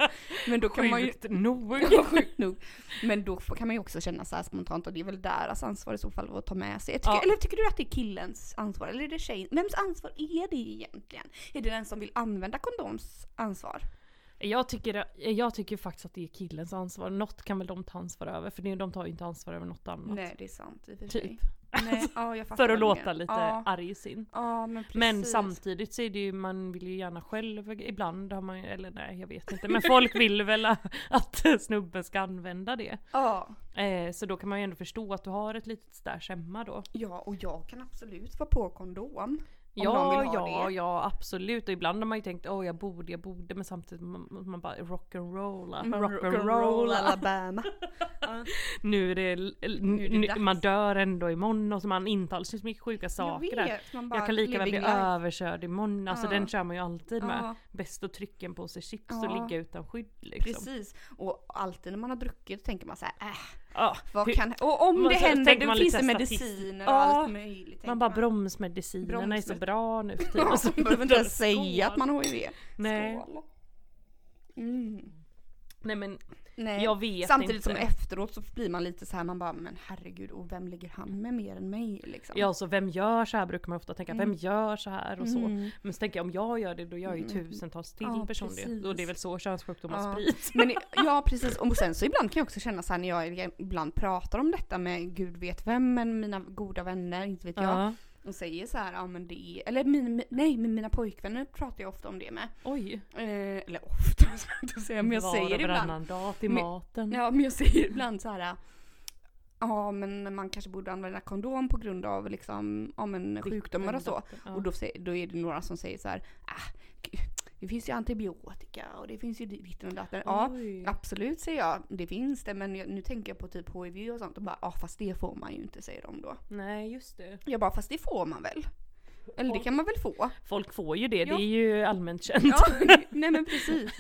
Men då kan man ju... Sjukt nog. Ja, sjukt nog. Men då får- kan man ju också känna så här spontant och det är väl deras ansvar i så fall att ta med sig. Jag Tycker, Ja. Eller tycker du att det är killens ansvar eller är det tjejens? Vems ansvar är det egentligen? Är det den som vill använda kondoms ansvar? Jag tycker, jag tycker faktiskt att det är killens ansvar. Något kan väl de ta ansvar över. För det- de tar ju inte ansvar över något annat. Nej det är sant i och för sig. Typ. Nej, ja, jag fattar För att vad du låta menar. lite Ja, arg i sin. ja men precis. Men samtidigt så är det ju, man vill ju gärna själv, ibland har man ju- eller nej jag vet inte, men folk vill väl att snubben ska använda det. Ja, Eh, så då kan man ju ändå förstå att du har ett litet stash hemma då. ja och jag kan absolut vara på kondom. någon ja, vill ha ja, det. ja absolut. Och ibland har man ju tänkt åh jag borde, jag borde, men samtidigt man, man bara rock'n'rolla, rock'n'rolla. Alabama. Nu är det, Nu är det nu, dags. man dör ändå imorgon och så man intalar sig så mycket sjuka saker jag där. vet, man bara Jag kan lika väl bli living life. överkörd imorgon, alltså Ja. den kör man ju alltid med. Ja. bäst att trycka en påse chips Ja. och ligga utan skydd liksom. Precis, och alltid när man har druckit tänker man så här, äh, Ja, vad hur- kan, och om Man- det så händer, tänker då man finns lite det så här mediciner statistiskt. och Ja, allt möjligt. tänker man bara bromsmedicinerna är så Bromsmed- bra nu för tiden. Ja, Så man behöver inte ens skål. säga att man har HIV. Nej. Skål. Mm. Nej men Nej. jag vet Samtidigt inte. som efteråt så blir man lite så här, man bara men herregud och vem ligger han med mer än mig liksom? Ja så vem gör så här brukar man ofta tänka, vem gör så här och så. Mm. Men så tänker jag om jag gör det då gör ju tusentals till Ja, personer precis. det. Och det är väl så könssjukdomar Ja. sprids. Men, ja precis, och sen så ibland kan jag också känna så här när jag ibland pratar om detta med gud vet vem men mina goda vänner, inte vet jag. Ja. Och säger så här, ja men det är, eller min, nej men mina pojkvänner pratar jag ofta om det med. Oj. Eh, eller ofta ska jag inte säga, men jag Var säger och ibland. varannan dag till Men- maten. Ja men jag säger ibland så här. Ja men man kanske borde använda kondom på grund av liksom, ja, men sjukdomar och så. Ja. Och då, säger- då är det några som säger så här. Ah, gud, det finns ju antibiotika och det finns ju ditten och datten. Ja Oj. absolut säger jag, det finns det men jag, nu tänker jag på typ HIV och sånt och bara ja fast det får man ju inte säger de då. Nej just det. Jag bara fast det får man väl? Eller det kan man väl få? Folk får ju det, Ja. det är ju allmänt känt. Ja, nej men precis.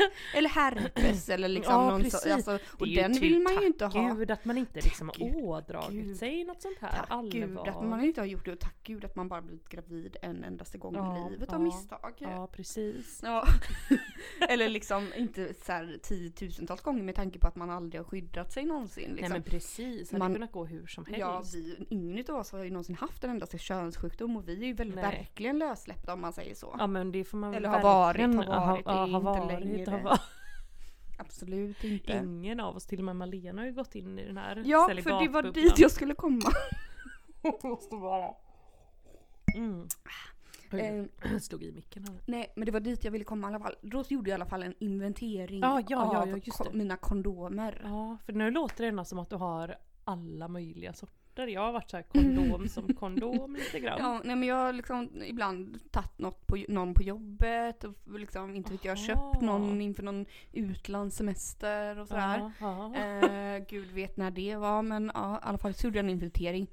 Eller herpes eller liksom Ja, någon så, precis. alltså, Och Det är den tur, vill man tack ju inte ha. Gud att man inte liksom Tack har Gud. ådragit Gud. sig något sånt här Tack gud allvar. att man inte har gjort det och tack gud att man bara blivit gravid en endaste gång Ja, i livet ja, av misstag. Ja precis. Ja. Eller liksom inte så här tiotusentals gånger med tanke på att man aldrig har skyddat sig någonsin. Liksom. Nej men precis, hade Man- man... kunnat gå hur som helst. Ja, vi, ingen av oss har ju någonsin haft en endaste könssjukdom och vi är ju väldigt Nej. verkligen lössläppta om man säger så. Ja men det får man väl Eller har varit, verkligen- har varit, ja, ha, är har inte varit, längre. har varit. Absolut inte. Ingen av oss, till och med Malena har ju gått in i den här ja, för det var dit jag skulle komma. måste vara. Mm. Oj, Eh, jag slog i micken här. nej, men det var dit jag ville komma i alla fall. Då gjorde jag i alla fall en inventering Ja, ja, ja, av ja, just ko- det. mina kondomer. Ja, för nu låter det ändå som att du har alla möjliga sorter. Jag har varit så här kondom som kondom lite grann. Ja, nej men jag har liksom ibland tagit något på, någon på jobbet och liksom inte vet jag Aha. köpt någon inför någon utlandssemester och sådär. Ja, ja. Eh, gud vet när det var men ja, i alla fall så gjorde jag en inventering.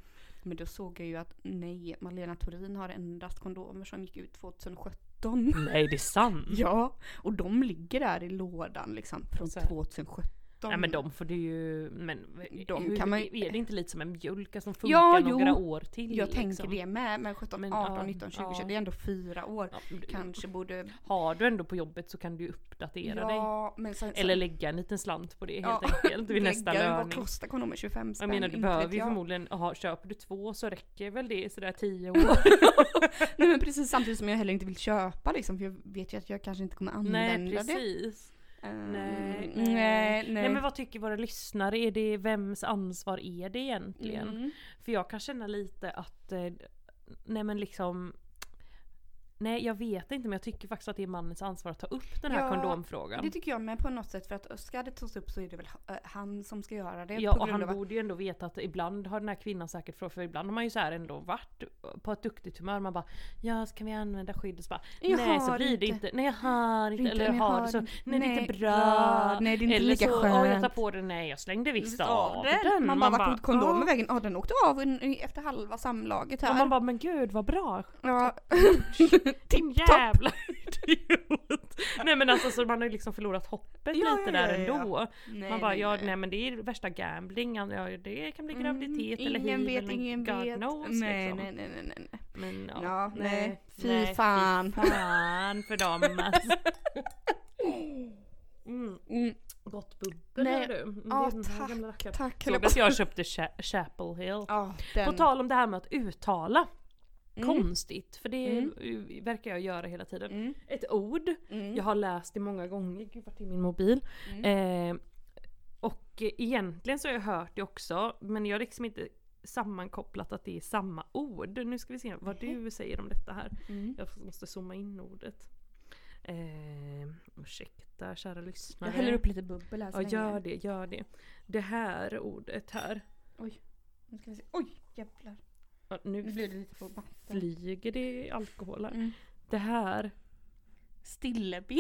Men då såg jag ju att nej, Malena Torin har endast kondomer som gick ut 2017. Nej det är sant. Ja, och de ligger där i lådan liksom från Så här. 2017. Nej men de får du ju, men De hur, kan man ju- är det inte lite som en mjölka som funkar Ja, jo. några år till? Jag tänker liksom? det med, men 17, Men, 18, ja, 19, 20, ja. 20, det är ändå fyra år. Ja, men du- Kanske borde... Har du ändå på jobbet så kan du ju uppdatera dig. Ja, men sen, sen, Eller lägga en liten slant på det helt Ja. enkelt vid nästa Lägga den, Vad löning. kostar kondomer? 25 spänn? Jag menar du Inte behöver vet ju jag. förmodligen, aha, köper du två så räcker väl det i sådär tio år? Nej men precis samtidigt som jag heller inte vill köpa liksom för jag vet ju att jag kanske inte kommer använda Nej det. precis. Ehm, Nej, nej, nej. nej. men vad tycker våra lyssnare? Är det vems ansvar är det egentligen? Mm. För jag kan känna lite att, eh, nej men liksom Nej jag vet inte men jag tycker faktiskt att det är mannens ansvar att ta upp den här Ja, kondomfrågan. Det tycker jag med på något sätt för att eh, ska det tas upp så är det väl eh, han som ska göra det. Ja Eh, på och grund han av att- borde ju ändå veta att ibland har den här kvinnan säkert frågat, för ibland har man ju så här ändå varit på ett duktigt humör. Man bara ja ska vi använda skydd? Och så bara, Jag nej så har blir det inte. inte. Nej jag har inte. Inte, Eller men jag har har det så. inte. Nej det är inte Nej, bra. bra. Nej, det är inte Eller lika så, "Åh, jag skönt." tar på den. Nej jag slängde visst Visst av av det. den. Man bara, vart tog kondomen "Ah." vägen? Ja den åkte av en- efter halva samlaget här. Och man bara men gud vad bra. ja. Din topp. jävla idiot. nej men alltså så man har ju liksom förlorat hoppet Ja, lite ja, där ja, ja. ändå. Nej, Man bara, nej, ja nej. nej men det är värsta gambling, Alltså, ja, det kan bli Mm, graviditet eller ingen hiv vet, eller ingen God vet. knows nej, liksom. nej, nej, nej, nej, nej. Men, ja, Ja, nej. Fy fy fan. fan för dem alltså. Mm, Mm, gott bubbel Nej. är du. Mm, det är Ja, den här tack, gamla rackaren. tack. Såg höll du att jag köpte Cha- Chapel Hill? Ja, den. På tal om det här med att uttala, Mm, konstigt för det Mm. eh, verkar jag göra hela tiden. Mm. Ett ord Mm. jag har läst det många gånger, gud vart är min mobil? Mm. Eh, och eh, egentligen så har jag hört det också men jag har liksom inte sammankopplat att det är samma ord. Nu ska vi se vad du säger om detta här. Mm. Jag måste zooma in ordet. Eh, ursäkta kära lyssnare. Jag häller upp lite bubbel här så Ja länge. gör det, gör det. Det här ordet här. Nu ska vi se. Oj jävlar. Ja, Nu Nu blir det lite på vatten. flyger det alkohol här. Mm. Det här. Stilleben.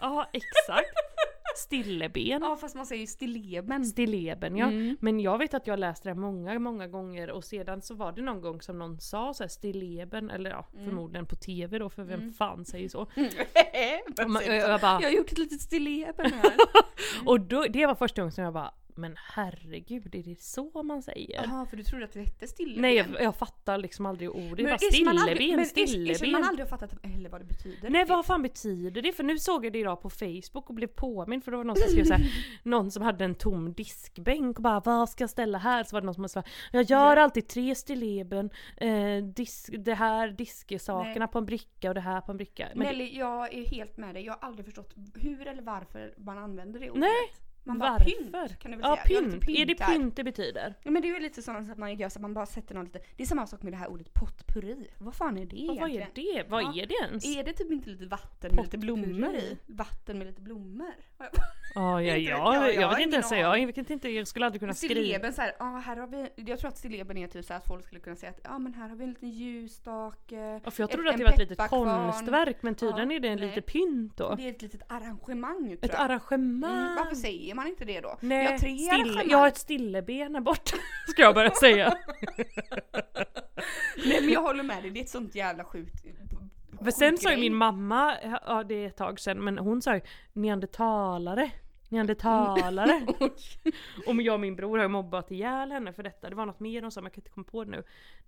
Ja exakt. Stilleben. ja fast man säger ju stilleben. Stilleben ja. Mm. Men jag vet att jag läste det här många, många gånger och sedan så var det någon gång som någon sa så här stilleben, eller ja Mm. förmodligen på tv då för vem fan säger så. Och, man, och jag bara, Jag har gjort ett litet stilleben här. och då, det var första gången som jag bara men herregud är det så man säger? Jaha för du trodde att det hette stilleben. Nej jag, jag fattar liksom aldrig ordet. Jag bara erkänner man aldrig- stilleben, Men erkänner man stilleben. aldrig har fattat heller vad det betyder. Nej vad fan betyder det? För nu såg jag det idag på Facebook och blev påmind för då var det någon som skrev såhär, någon som hade en tom diskbänk och bara vad ska jag ställa här? Så var det någon som sa jag gör alltid tre stilleben, eh, disk, det här diskesakerna Nej. på en bricka och det här på en bricka. Men Nelly, jag är helt med dig. Jag har aldrig förstått hur eller varför man använder det ordet. Nej, Man bara varför? pynt kan du väl ja säga. Jag har lite pynt, är det här. pynt det betyder? Ja, men det är ju lite sånt att man gör så att man bara sätter någon lite. Det är samma sak med det här ordet potpurri. Vad fan är det Och vad är egentligen? det? Vad Ja. är det ens? Är det typ inte lite vatten med lite Potpurri? blommor i? Vatten med lite blommor. Ja, ja, Inte vet ja, jag, jag jag, har vet ingen inte ens, jag, aning. jag, vet inte, jag skulle aldrig kunna skriva. Stilleben såhär, ja här har vi, jag tror att stilleben är typ så här att folk skulle kunna säga att ja men här har vi en liten ljusstake. Ja, för jag Ett- trodde att en det var ett litet pepparkvarn. konstverk men tydligen Ja, är det en nej. lite pynt då. Det är ett litet arrangemang tror Ett jag. arrangemang! Mm, varför säger man inte det då? Ah. Nej, jag har tre stille, arrangemang. jag har ett stilleben här borta. Ska jag börja säga. Nej men jag håller med dig, det är ett sånt jävla sjukt... För sen sa ju min mamma, ja det är ett tag sen, men hon sa ju neandertalare. Neandertalare. Och jag och min bror har ju mobbat ihjäl henne för detta. Det var något mer hon sa men jag kan inte komma på det nu.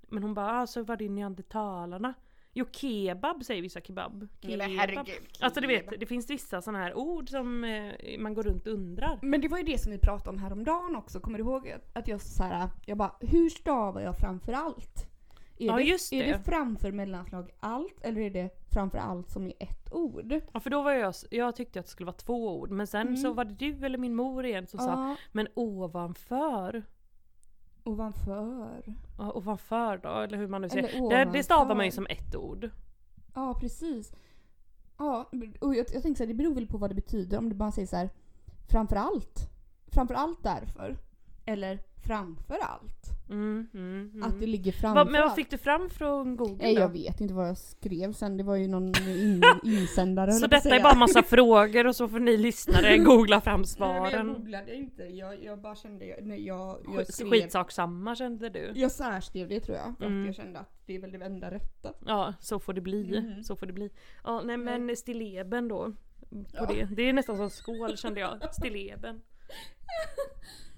Men hon bara, ah, så var det neandertalarna. Jo kebab säger vissa kebab. Nej, kebab. men herregud. Alltså du vet, kebab. det finns vissa sådana här ord som eh, man går runt och undrar. Men det var ju det som vi pratade om häromdagen också, kommer du ihåg? Att jag så här, jag bara, hur stavar jag framför allt? Är Ja, det, just Är det. det framför mellanslag allt eller är det framför allt som är ett ord? Ja för då var jag, jag tyckte att det skulle vara två ord men sen så var det du eller min mor igen som sa Mm. Ja, Men ovanför? ovanför. Ja, ovanför då, eller hur man nu säger. Eller Det, det stavar man ju ovanför. som ett ord. Ja, precis. Ja, och jag, jag tänker så här, det beror väl på vad det betyder om du bara säger så här, framför allt. Framför allt därför. Eller framför allt. Mm, mm, mm. Att det ligger Va, framför men vad allt. fick du fram från Google Nej, då? jag vet inte vad jag skrev sen, det var ju någon in, insändare höll Så jag på att detta är säga. bara massa frågor och så får ni lyssnare googla fram Nej, men Jag svaren. googlade inte, jag, jag bara kände, jag, nej, jag, jag skrev. Sk- Skitsaksamma kände du. Jag särskrev det tror jag, för Mm. att jag kände att det är väl det enda rätta. Ja, så får det bli. Mhm. Så får det bli. Ja, nej men stilleben då. På Ja. det. det är nästan som skål kände jag. Stilleben.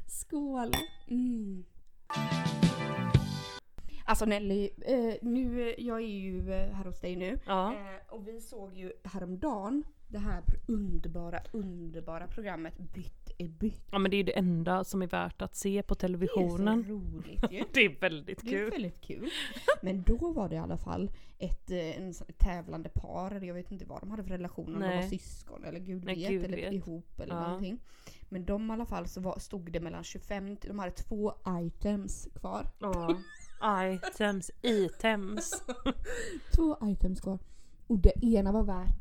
Skål! Mm. Alltså Nelly, eh, nu, eh, jag är ju eh, här hos dig nu. Ja. Eh, och vi såg ju häromdagen det här pr- underbara, underbara programmet Bytt är bytt. ja men det är ju det enda som är värt att se på Det är så televisionen. roligt ju. Det är väldigt Det är kul. väldigt kul. Men då var det i alla fall ett eh, en, sån- tävlande par, eller jag vet inte vad de hade för relation, om de Nej. var syskon eller gud Nej, vet, gud eller vet. ihop eller Ja. någonting. Men de i alla fall så var, stod det mellan 25, de hade två items kvar. Ja. Items, items. Två items kvar. Och det ena var värt...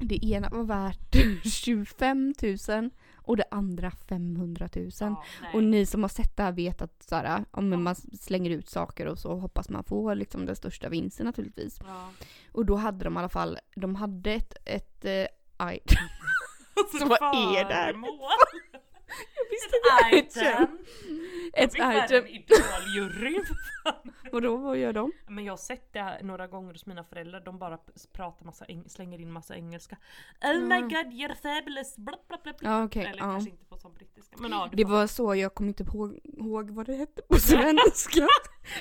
Det ena var värt 25 000 och det andra 500 000. Ja, nej. Och ni som har sett det här vet att så här, om man slänger ut saker och så hoppas man få liksom, den största vinsten naturligtvis. Ja. Och då hade de i alla fall, de hade ett, ett eh, item. Så vad är det här? Föremål. Visst är det Ett item. Ett Vi är en item. idoljury. Vadå, vad gör de? Men jag har sett det här några gånger hos mina föräldrar. De bara p- pratar massa, eng- slänger in massa engelska. Oh my Mm. god you're fabulous. Bla, bla, bla, bla. Ja okej. Eller ja. kanske inte på sån brittiska. Men ja, du Det får- var så jag kommer inte ihåg, ihåg vad det hette på svenska.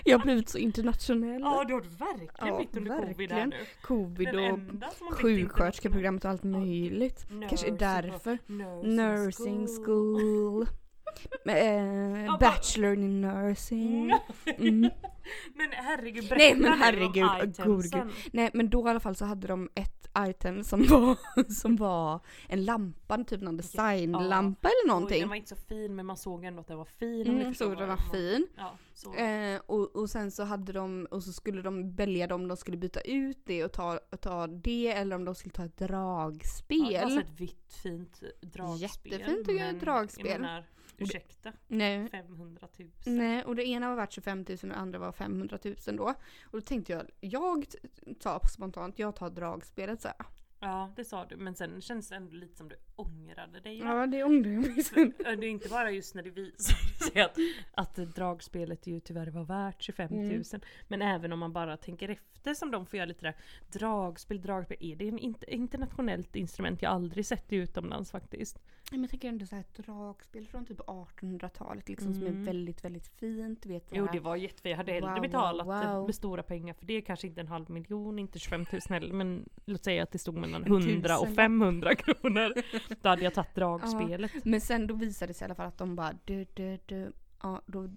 jag har blivit så internationell. Ja det har du verkligen Ja, blivit under covid här verkligen. nu. Covid och enda som har blivit sjuksköterskeprogrammet och allt möjligt. internationell. Kanske Nursing därför. och- Nursing, Nursing school. eh, vad- bachelor in nursing. Mm. Mm. men herregud berätta Nej, men nu om herregud, åh, itemsen. Nej men då i alla fall så hade de ett item som var, som var en lampa, typ någon designlampa eller Oj, någonting. den var inte så fin men man såg ändå att den var fin. om ni Mm, förstår så den vad var jag menar. fin. Ja, så. Eh, och, och sen så hade de, och så skulle de välja om de skulle byta ut det och ta, och ta det eller om de skulle ta ett Ja, det var dragspel. alltså ett vitt fint dragspel. Jättefint tycker jag, men ett dragspel. Jag menar, ursäkta, Nej. 500 000. Nej, och det ena var värt 25 000 och det andra var 500 000 då. Och då tänkte jag, jag t- tar spontant, jag tar dragspelet så här. Ja det sa du men sen känns det ändå lite som du ångrade dig. va? Ja, det ångrar jag mig sen. Det är inte bara just när det visar sig att, att dragspelet ju tyvärr var värt 25 000. Men även om man bara tänker efter som de får göra lite där. Dragspel, dragspel. Är det en inter- internationellt instrument? Jag har aldrig sett det utomlands faktiskt. Nej, men jag tänker ändå så här ett dragspel från typ 1800-talet liksom som är väldigt, väldigt fint. Du vet, så Jo här- det var jättefint. Jag hade hellre Wow, wow, betalat wow. med stora pengar för det. Kanske inte en halv miljon, inte 25 000 heller. Men låt säga att det stod mellan 100 och tusenlapp. 500 kronor. Då hade jag tagit dragspelet. Men sen då visade det sig i alla fall att de bara du, du, du. Ja, då,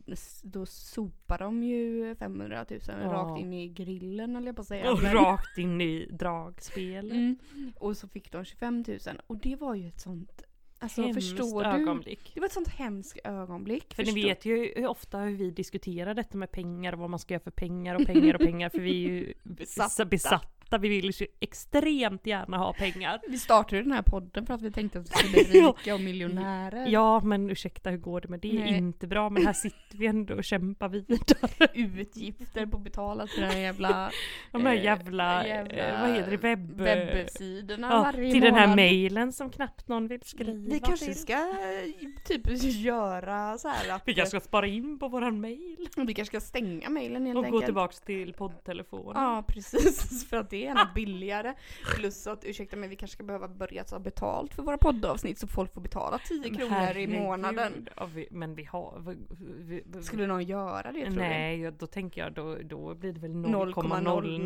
då sopar de ju 500 000 rakt in i grillen eller jag på att säga. Och Men- rakt in i dragspelet. Mm. Och så fick de 25 000 och det var ju ett sånt, alltså Hemskt förstår du? ögonblick. Det var ett sånt hemskt ögonblick. För förstår- ni vet ju hur ofta hur vi diskuterar detta med pengar och vad man ska göra för pengar och pengar och pengar för vi är ju Besatta. besatta. besatta. Vi vill ju extremt gärna ha pengar. Vi startade ju den här podden för att vi tänkte att vi skulle bli Ja. rika och miljonärer. Ja men ursäkta hur går det med det? Mm. Nej. Inte bra men här sitter vi ändå och kämpar vidare. Utgifter på betalat för den här jävla... De här eh, jävla, jävla eh, vad heter det, webb... webbsidorna Ja, varje till den här månad. mejlen som knappt någon vill skriva Vi kanske till. ska eh, typ göra så här att Vi kanske ska spara in på våran mejl vi kanske ska stänga mejlen helt och enkelt. gå tillbaks till poddtelefonen. Ja precis, för att det är ännu billigare. Plus att, ursäkta men vi kanske ska behöva börja ta betalt för våra poddavsnitt så folk får betala 10 kronor i Herregud. månaden. Ja, vi, men vi har... Vi, vi, vi, Skulle någon göra det tror du? Nej, jag- då tänker jag då, då blir det väl 0,00.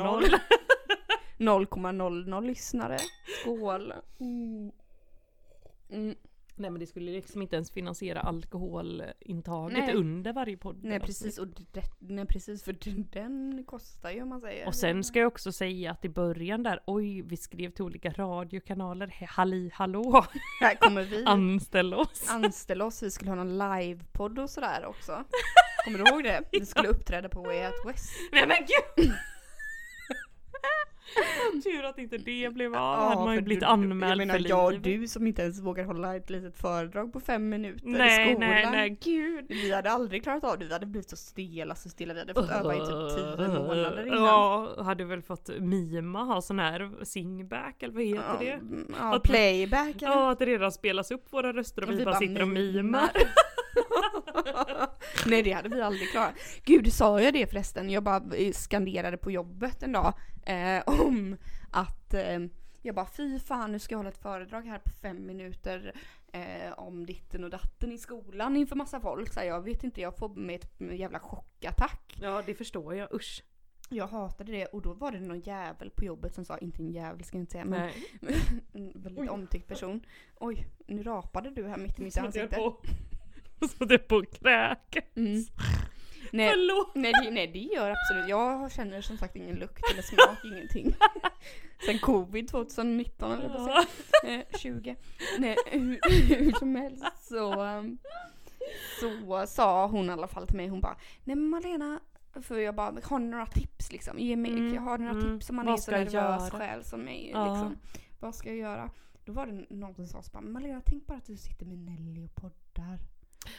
0,00. 0,00 lyssnare. Skål. Mm. Nej men det skulle liksom inte ens finansiera alkoholintaget Nej. under varje podd. Nej precis, och det, nej precis för den- den kostar ju om man säger. Och sen ska jag också säga att i början där, oj vi skrev till olika radiokanaler, He- halli Mm. hallå, Här kommer vi. anställ oss. Anställ oss, vi skulle ha någon livepodd och sådär också. Kommer du ihåg det? Vi skulle uppträda på Way Out West. Nej men gud! Tur att inte det blev av, hade man ju för blivit du- jag anmäld menar, för jag och livet. du som inte ens vågar hålla ett litet föredrag på fem minuter i Nej skolan. nej nej gud. Vi hade aldrig klarat av det, vi hade blivit så stela, så stela. Vi hade fått öva i typ tio månader innan. Ja, hade väl fått mima ha sån här singback eller vad heter Ja, det? mm, ja, Att- playback. eller? Ja, att det redan spelas upp våra röster och, vi, bara sitter och mimar. Nej det hade vi aldrig klarat. Gud sa jag det förresten, jag bara eh, skanderade på jobbet en dag eh, om att eh, jag bara fy fan nu ska jag hålla ett föredrag här på fem minuter eh, om ditten och datten i skolan inför massa folk. Så här, jag vet inte, jag får med ett jävla chockattack. Ja, det förstår jag. Usch. Jag hatade det och då var det någon jävel på jobbet som sa, inte en jävel ska jag inte säga men Nej. en väldigt omtyckt person. Oj, nu rapade du här mitt i mitt Som att jag ansikte. är på- som att jag är på och kräk. Mm. Nej, Förlåt. Nej det, nej det gör absolut, jag känner som sagt ingen lukt eller smak, ingenting. Sen covid 2019 eller vad säger Ja. jag? Eh, 20. Nej hur, hur som helst så, um, så sa hon i alla fall till mig, hon bara Nej men Malena, För jag bara, har ni några tips liksom? Ge mig, Mm, Har ni några mm. tips om man Vad är så ska jag nervös göra? själv som mig? Ja. Liksom. Vad ska jag göra? Då var det någon som sa så bara, Malena tänk bara att du sitter med Nelly och poddar.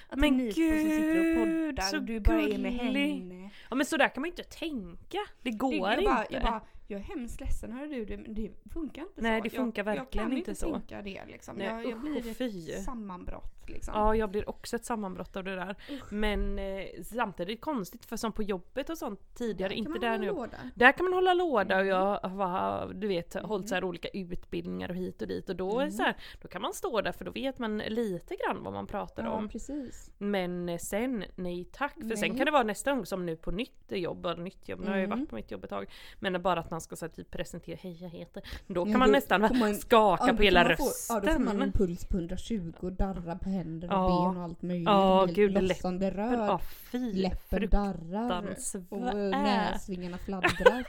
Att Men det är ni två som sitter och gud, poddar så och du bara är med gullig. henne. Ja men sådär kan man ju inte tänka. Det går Det- inte. jag, bara, jag bara, jag är hemskt ledsen hörru du, det, men det funkar inte Nej, så. det funkar jag, verkligen jag kan inte inte så. tänka det liksom. Nej, jag, jag usch blir och fy. ett sammanbrott liksom. Ja, jag blir också ett sammanbrott av det där. Usch. Men eh, samtidigt konstigt för som på jobbet och sånt tidigare, Kan inte man där hålla nu. låda? Där kan man hålla låda Mm. och jag har du vet, hållit så här olika utbildningar och hit och dit och då, är det Mm. så här, då kan man stå där för då vet man lite grann vad man pratar Ja, om. precis. Men eh, sen, nej tack. För sen Nej. Mm. kan det vara nästa gång som nu på nytt jobb, eller nytt jobb, nu har jag ju varit på mitt jobb ett tag. Men bara att man ska så här, typ presentera, hej jag heter. Då kan Ja, man då nästan får man- skaka Ja, på då hela får man få- rösten. Ja, då får man en puls på 120 och darrar på händer och Ja. ben och allt möjligt. Ja, Helt gud, Blossande Men, röd. ah, fy, Läppen fruktansvärt. darrar. Och eh, Vad är- näsvingarna fladdrar.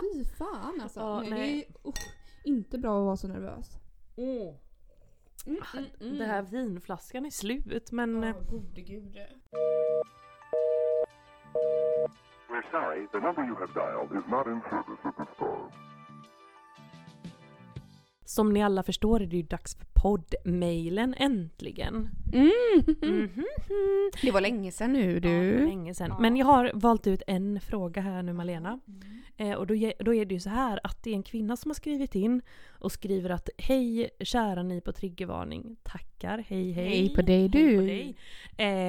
Fy fan alltså. Ja, nej, nej. Det är usch, inte bra att vara så nervös. Mm, mm, mm. Den Ah, här vinflaskan är slut men Ja, eh, gode gud. We're sorry, the number you have dialed is not in service at this time. som ni alla förstår är det ju dags för poddmailen äntligen. Mhm. Det var länge sedan nu Ja, Mm. du. länge sedan. Men jag har valt ut en fråga här nu Malena. Mm. Eh, och då, ge- då är det ju så här att det är en kvinna som har skrivit in och skriver att hej kära ni på triggervarning. Tackar, hej hej. Hej på dig, du. Hej på dig.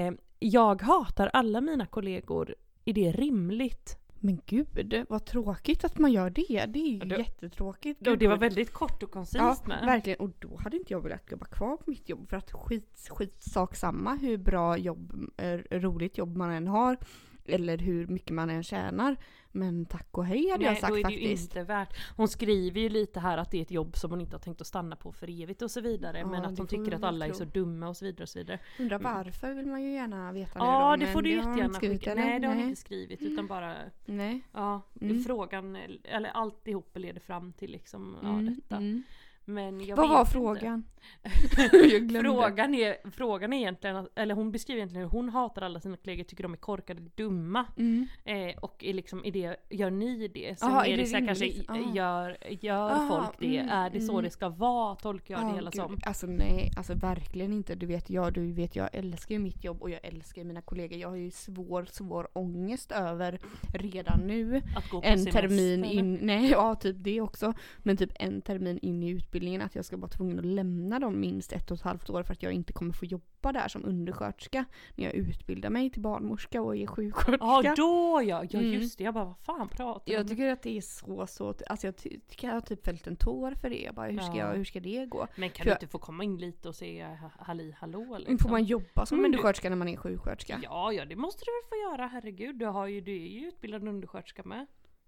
Eh, jag hatar alla mina kollegor. Är det rimligt? Men gud, vad tråkigt att man gör det. Det är ju Ja, det- jättetråkigt. Och det var väldigt kort och koncist Ja, med. verkligen. Och då hade inte jag velat jobba kvar på mitt jobb för att skit, skit sak samma hur bra jobb, eh, roligt jobb man än har eller hur mycket man än tjänar. Men tack och hej hade jag då sagt är det ju faktiskt. inte värt. Hon skriver ju lite här att det är ett jobb som hon inte har tänkt att stanna på för evigt och så vidare. Ja, men det att hon får tycker man att väl alla är tro. så dumma och så vidare. Och så vidare. Undrar varför vill man ju gärna veta Mm. Ja nu då, det får men du har de inte jättegärna skrivit, skicka. eller? Nej det har hon Nej. inte skrivit utan bara Nej. ja, Mm. frågan eller alltihop leder fram till liksom ja, Mm, detta. mm. Men jag Vad vet var inte. frågan? Frågan är, frågan är egentligen, att- eller hon beskriver egentligen hur hon hatar alla sina kollegor, tycker de är korkade, dumma. Mm. Eh, och är liksom, är det, gör ni det? Sen Jaha, är är det det så här, kanske, rimligt? i- Ah. gör, gör Ah, folk det? mm, är det så mm. det ska vara? Tolkar jag det Ja, hela gud. som. Alltså nej, alltså verkligen inte. Du vet, jag, du vet, jag älskar ju mitt jobb och jag älskar ju mina kollegor. Jag har ju svår, svår ångest över redan nu. Att gå på en semester. termin in, nej ja typ det också. Men typ en termin in i utbildningen att jag ska vara tvungen att lämna dem minst ett och ett halvt år för att jag inte kommer få jobba där som undersköterska när jag utbildar mig till barnmorska och är sjuksköterska. Ja då ja, ja Mm. just det. Jag bara vad fan pratar du om? Jag tycker att det är så så, alltså jag ty- tycker jag har typ fällt en tår för det. Jag bara, hur ska, Ja. jag, hur ska det gå? Men kan för du jag- inte få komma in lite och säga ha- halli hallå liksom? Får man jobba som Men du- undersköterska när man är sjuksköterska? Ja ja det måste du väl få göra herregud. Du, har ju, du är ju utbildad undersköterska med.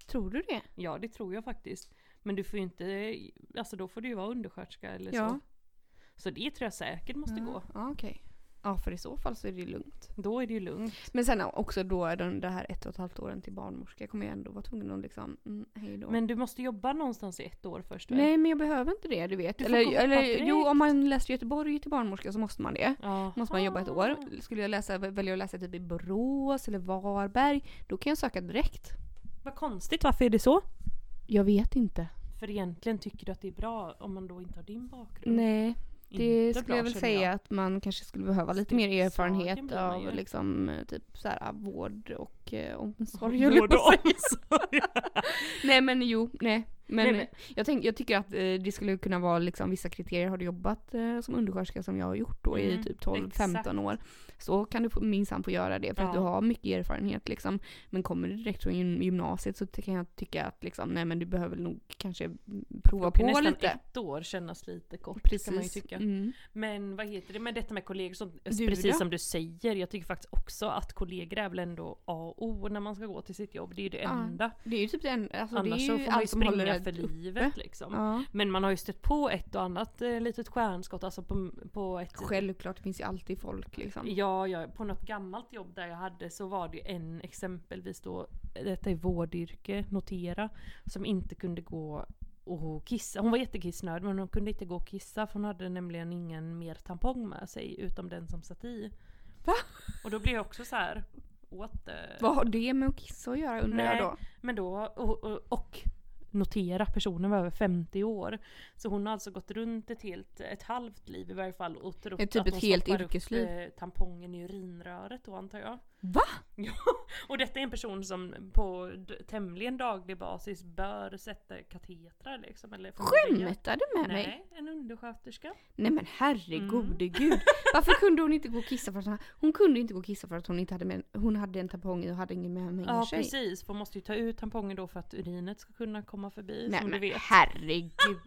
Tror du det? Ja det tror jag faktiskt. Men du får ju inte, alltså då får du ju vara undersköterska eller Ja. så. Så det tror jag säkert måste gå. Ja okej. Ja för i så fall så är det lugnt. Då är det ju lugnt. Men sen också då är den, det här ett och ett halvt åren till barnmorska kommer jag ändå vara tvungen att liksom, mm, hej då. Men du måste jobba någonstans i ett år först väl? Nej men jag behöver inte det du vet. Du får eller gå eller direkt. jo om man läser i Göteborg till barnmorska så måste man det. Ja. Måste man jobba ett Ah. år. Skulle jag läsa, välja att läsa typ i Borås eller Varberg då kan jag söka direkt. Vad konstigt, varför är det så? Jag vet inte. För egentligen tycker du att det är bra om man då inte har din bakgrund? Nej. Inte Det Mm, bra, skulle jag väl känner säga att man kanske skulle behöva lite mer Skräckslagen erfarenhet blir man av ju. liksom eh, typ så här vård och eh, omsorg höll jag Vård på och att säga. omsorg. Nej men jo, nej. Men, Nej, men- eh, Jag, tänk, jag tycker att eh, det skulle kunna vara liksom, vissa kriterier. Har du jobbat eh, som undersköterska som jag har gjort då Mm, i typ exakt. 12-15 år så kan du få- minsann få göra det för att Ja. du har mycket erfarenhet liksom. Men kommer du direkt från gym- gymnasiet så ty- kan jag tycka att liksom, nej men du behöver nog kanske prova Då kan på nästan lite. ett år kännas lite kort kan man ju Precis. tycka. Mm. Men vad heter det med detta med kollegor? Som, Du precis då? som du säger, jag tycker faktiskt också att kollegor är väl ändå A och O när man ska gå till sitt jobb. Det är ju det Ja, enda. Det är ju typ det enda. Alltså, det är Annars ju så får man ju allt som håller springa det för uppe. livet liksom. Ja. Men man har ju stött på ett och annat eh, litet stjärnskott alltså på, på ett Självklart, det finns ju alltid folk liksom. Ja, ja, på något gammalt jobb där jag hade så var det ju en exempelvis då, detta är vårdyrke, notera, som inte kunde gå och kissa. Hon var jättekissnödig men hon kunde inte gå och kissa för hon hade nämligen ingen mer tampong med sig utom den som satt i. Va? Och då blev jag också så här. what the... Vad har det med att kissa att göra undrar Nej. jag då? Men då, och, och, och notera personen var över 50 år. Så hon har alltså gått runt ett helt, ett halvt liv i varje fall och trott Det är typ att ett hon helt stoppar yrkesliv. Upp, eh, tampongen i urinröret då antar jag. Va? Ja, och detta är en person som på d- tämligen daglig basis bör sätta katetrar liksom. Eller förmodligen. Skämtar du med mig? Nej, Mm. en undersköterska. Nej men herregode gud. Varför kunde hon inte gå och kissa för att hon, hon kunde inte gå och kissa för att hon inte hade med, hon hade en tampong i och hade ingen med mig Ja sig. precis, för man måste ju ta ut tampongen då för att urinet ska kunna komma förbi Nej som du men vet. herregud.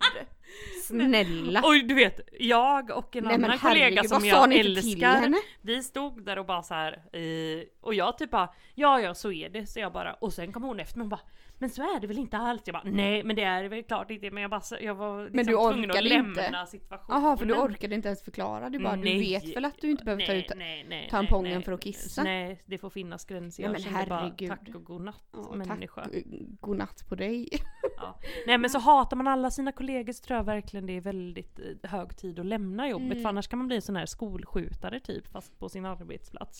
Snälla. Och du vet, jag och en Nej, men annan kollega herregud, som vad sa jag ni inte till älskar, henne? vi stod där och bara så här, eh, och jag typ bara, ja ja så är det, så jag bara, och sen kom hon efter mig och bara, men så är det väl inte alls? Jag bara, nej men det är det väl klart inte, men jag bara, så- jag var liksom du tvungen orkade att lämna inte? situationen. Jaha för du orkade inte ens förklara. Du bara du vet väl att du inte behöver ta Nej, ut nej, nej, tampongen nej, nej. för att kissa? Nej, det får finnas gränser. Nej, Jag men kände herregud. bara tack och godnatt Ja, människa. Tack, godnatt på dig. Ja. Nej men så hatar man alla sina kollegor så tror jag verkligen det är väldigt eh, hög tid att lämna jobbet för annars kan man bli en sån här skolskjutare typ fast på sin arbetsplats.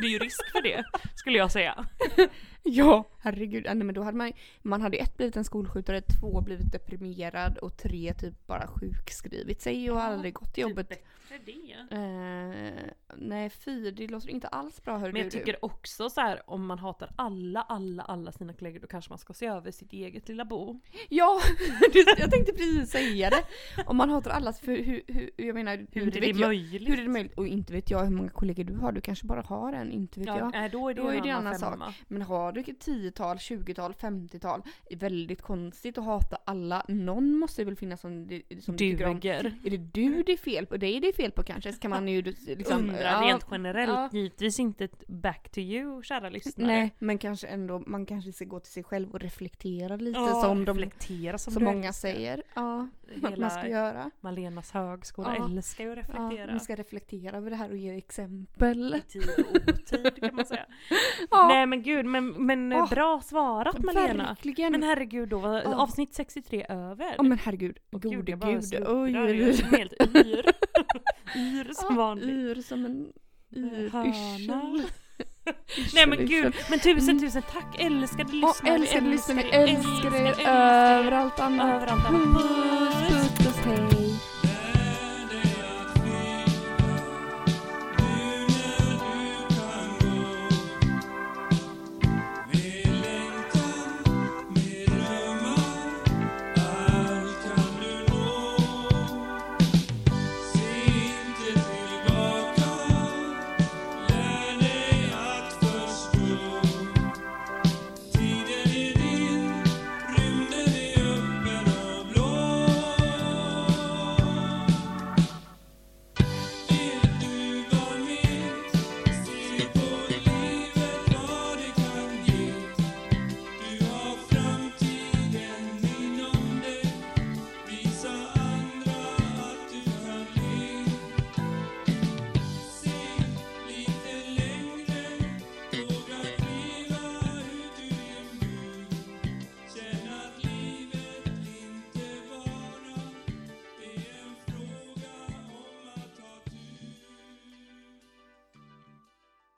Det är ju risk för det skulle jag säga. Ja, herregud. Ja, Nej, men då hade man, man hade ju ett blivit en skolskjutare, två blivit deprimerad och tre typ bara sjukskrivit sig och aldrig gått till typ. jobbet. Bättre det. Eh, nej fy, det låter inte alls bra hörru Men jag du, du. tycker också så här om man hatar alla, alla, alla sina kollegor då kanske man ska se över sitt eget lilla bo. Ja, jag tänkte precis säga det. Om man hatar allas, för hur, hur, jag menar, Hur inte är det vet jag, möjligt? hur är det möjligt? Och inte vet jag hur många kollegor du har, du kanske bara har en, inte vet Ja, jag. nej, då är det Då en är det en annan annan sak. femma. Men har du ett tiotal, tjugotal, femtiotal, är väldigt konstigt att hata alla. Någon måste det väl finnas som, det- som du tycker om. Duger. Är det du det är fel på? Det är det fel på kanske? Så kan man ju liksom... Undrar ja, rent generellt. ja. Givetvis inte ett back to you kära lyssnare. Nej, men kanske ändå, man kanske ska gå till sig själv och reflektera lite Ja, som, de, reflektera som som du många älskar. säger. Ja, vad man Hela- ska göra. Malenas högskola Ja. älskar ju att Ja, reflektera. man ska reflektera över det här och ge exempel. I tid och otid kan man säga. Ja. Nej men gud, men, men eh, Åh, bra svarat Malena. Verkligen! Men herregud då, var Ja. avsnitt 63 över? Ja men herregud, Åh, gode jag gud. bara Oj, sluddrar, oj, jag är oj. helt yr. yr som Ja, vanligt. Yr som en yr, Höna. yrsel. Nej men Yrsel, gud, yrsel. men tusen Mm. tusen tack älskade Ja, lyssnare. älskade lyssnare, er, älskar er älskar er. överallt annat. Överallt annat. Puss, puss, puss, hej.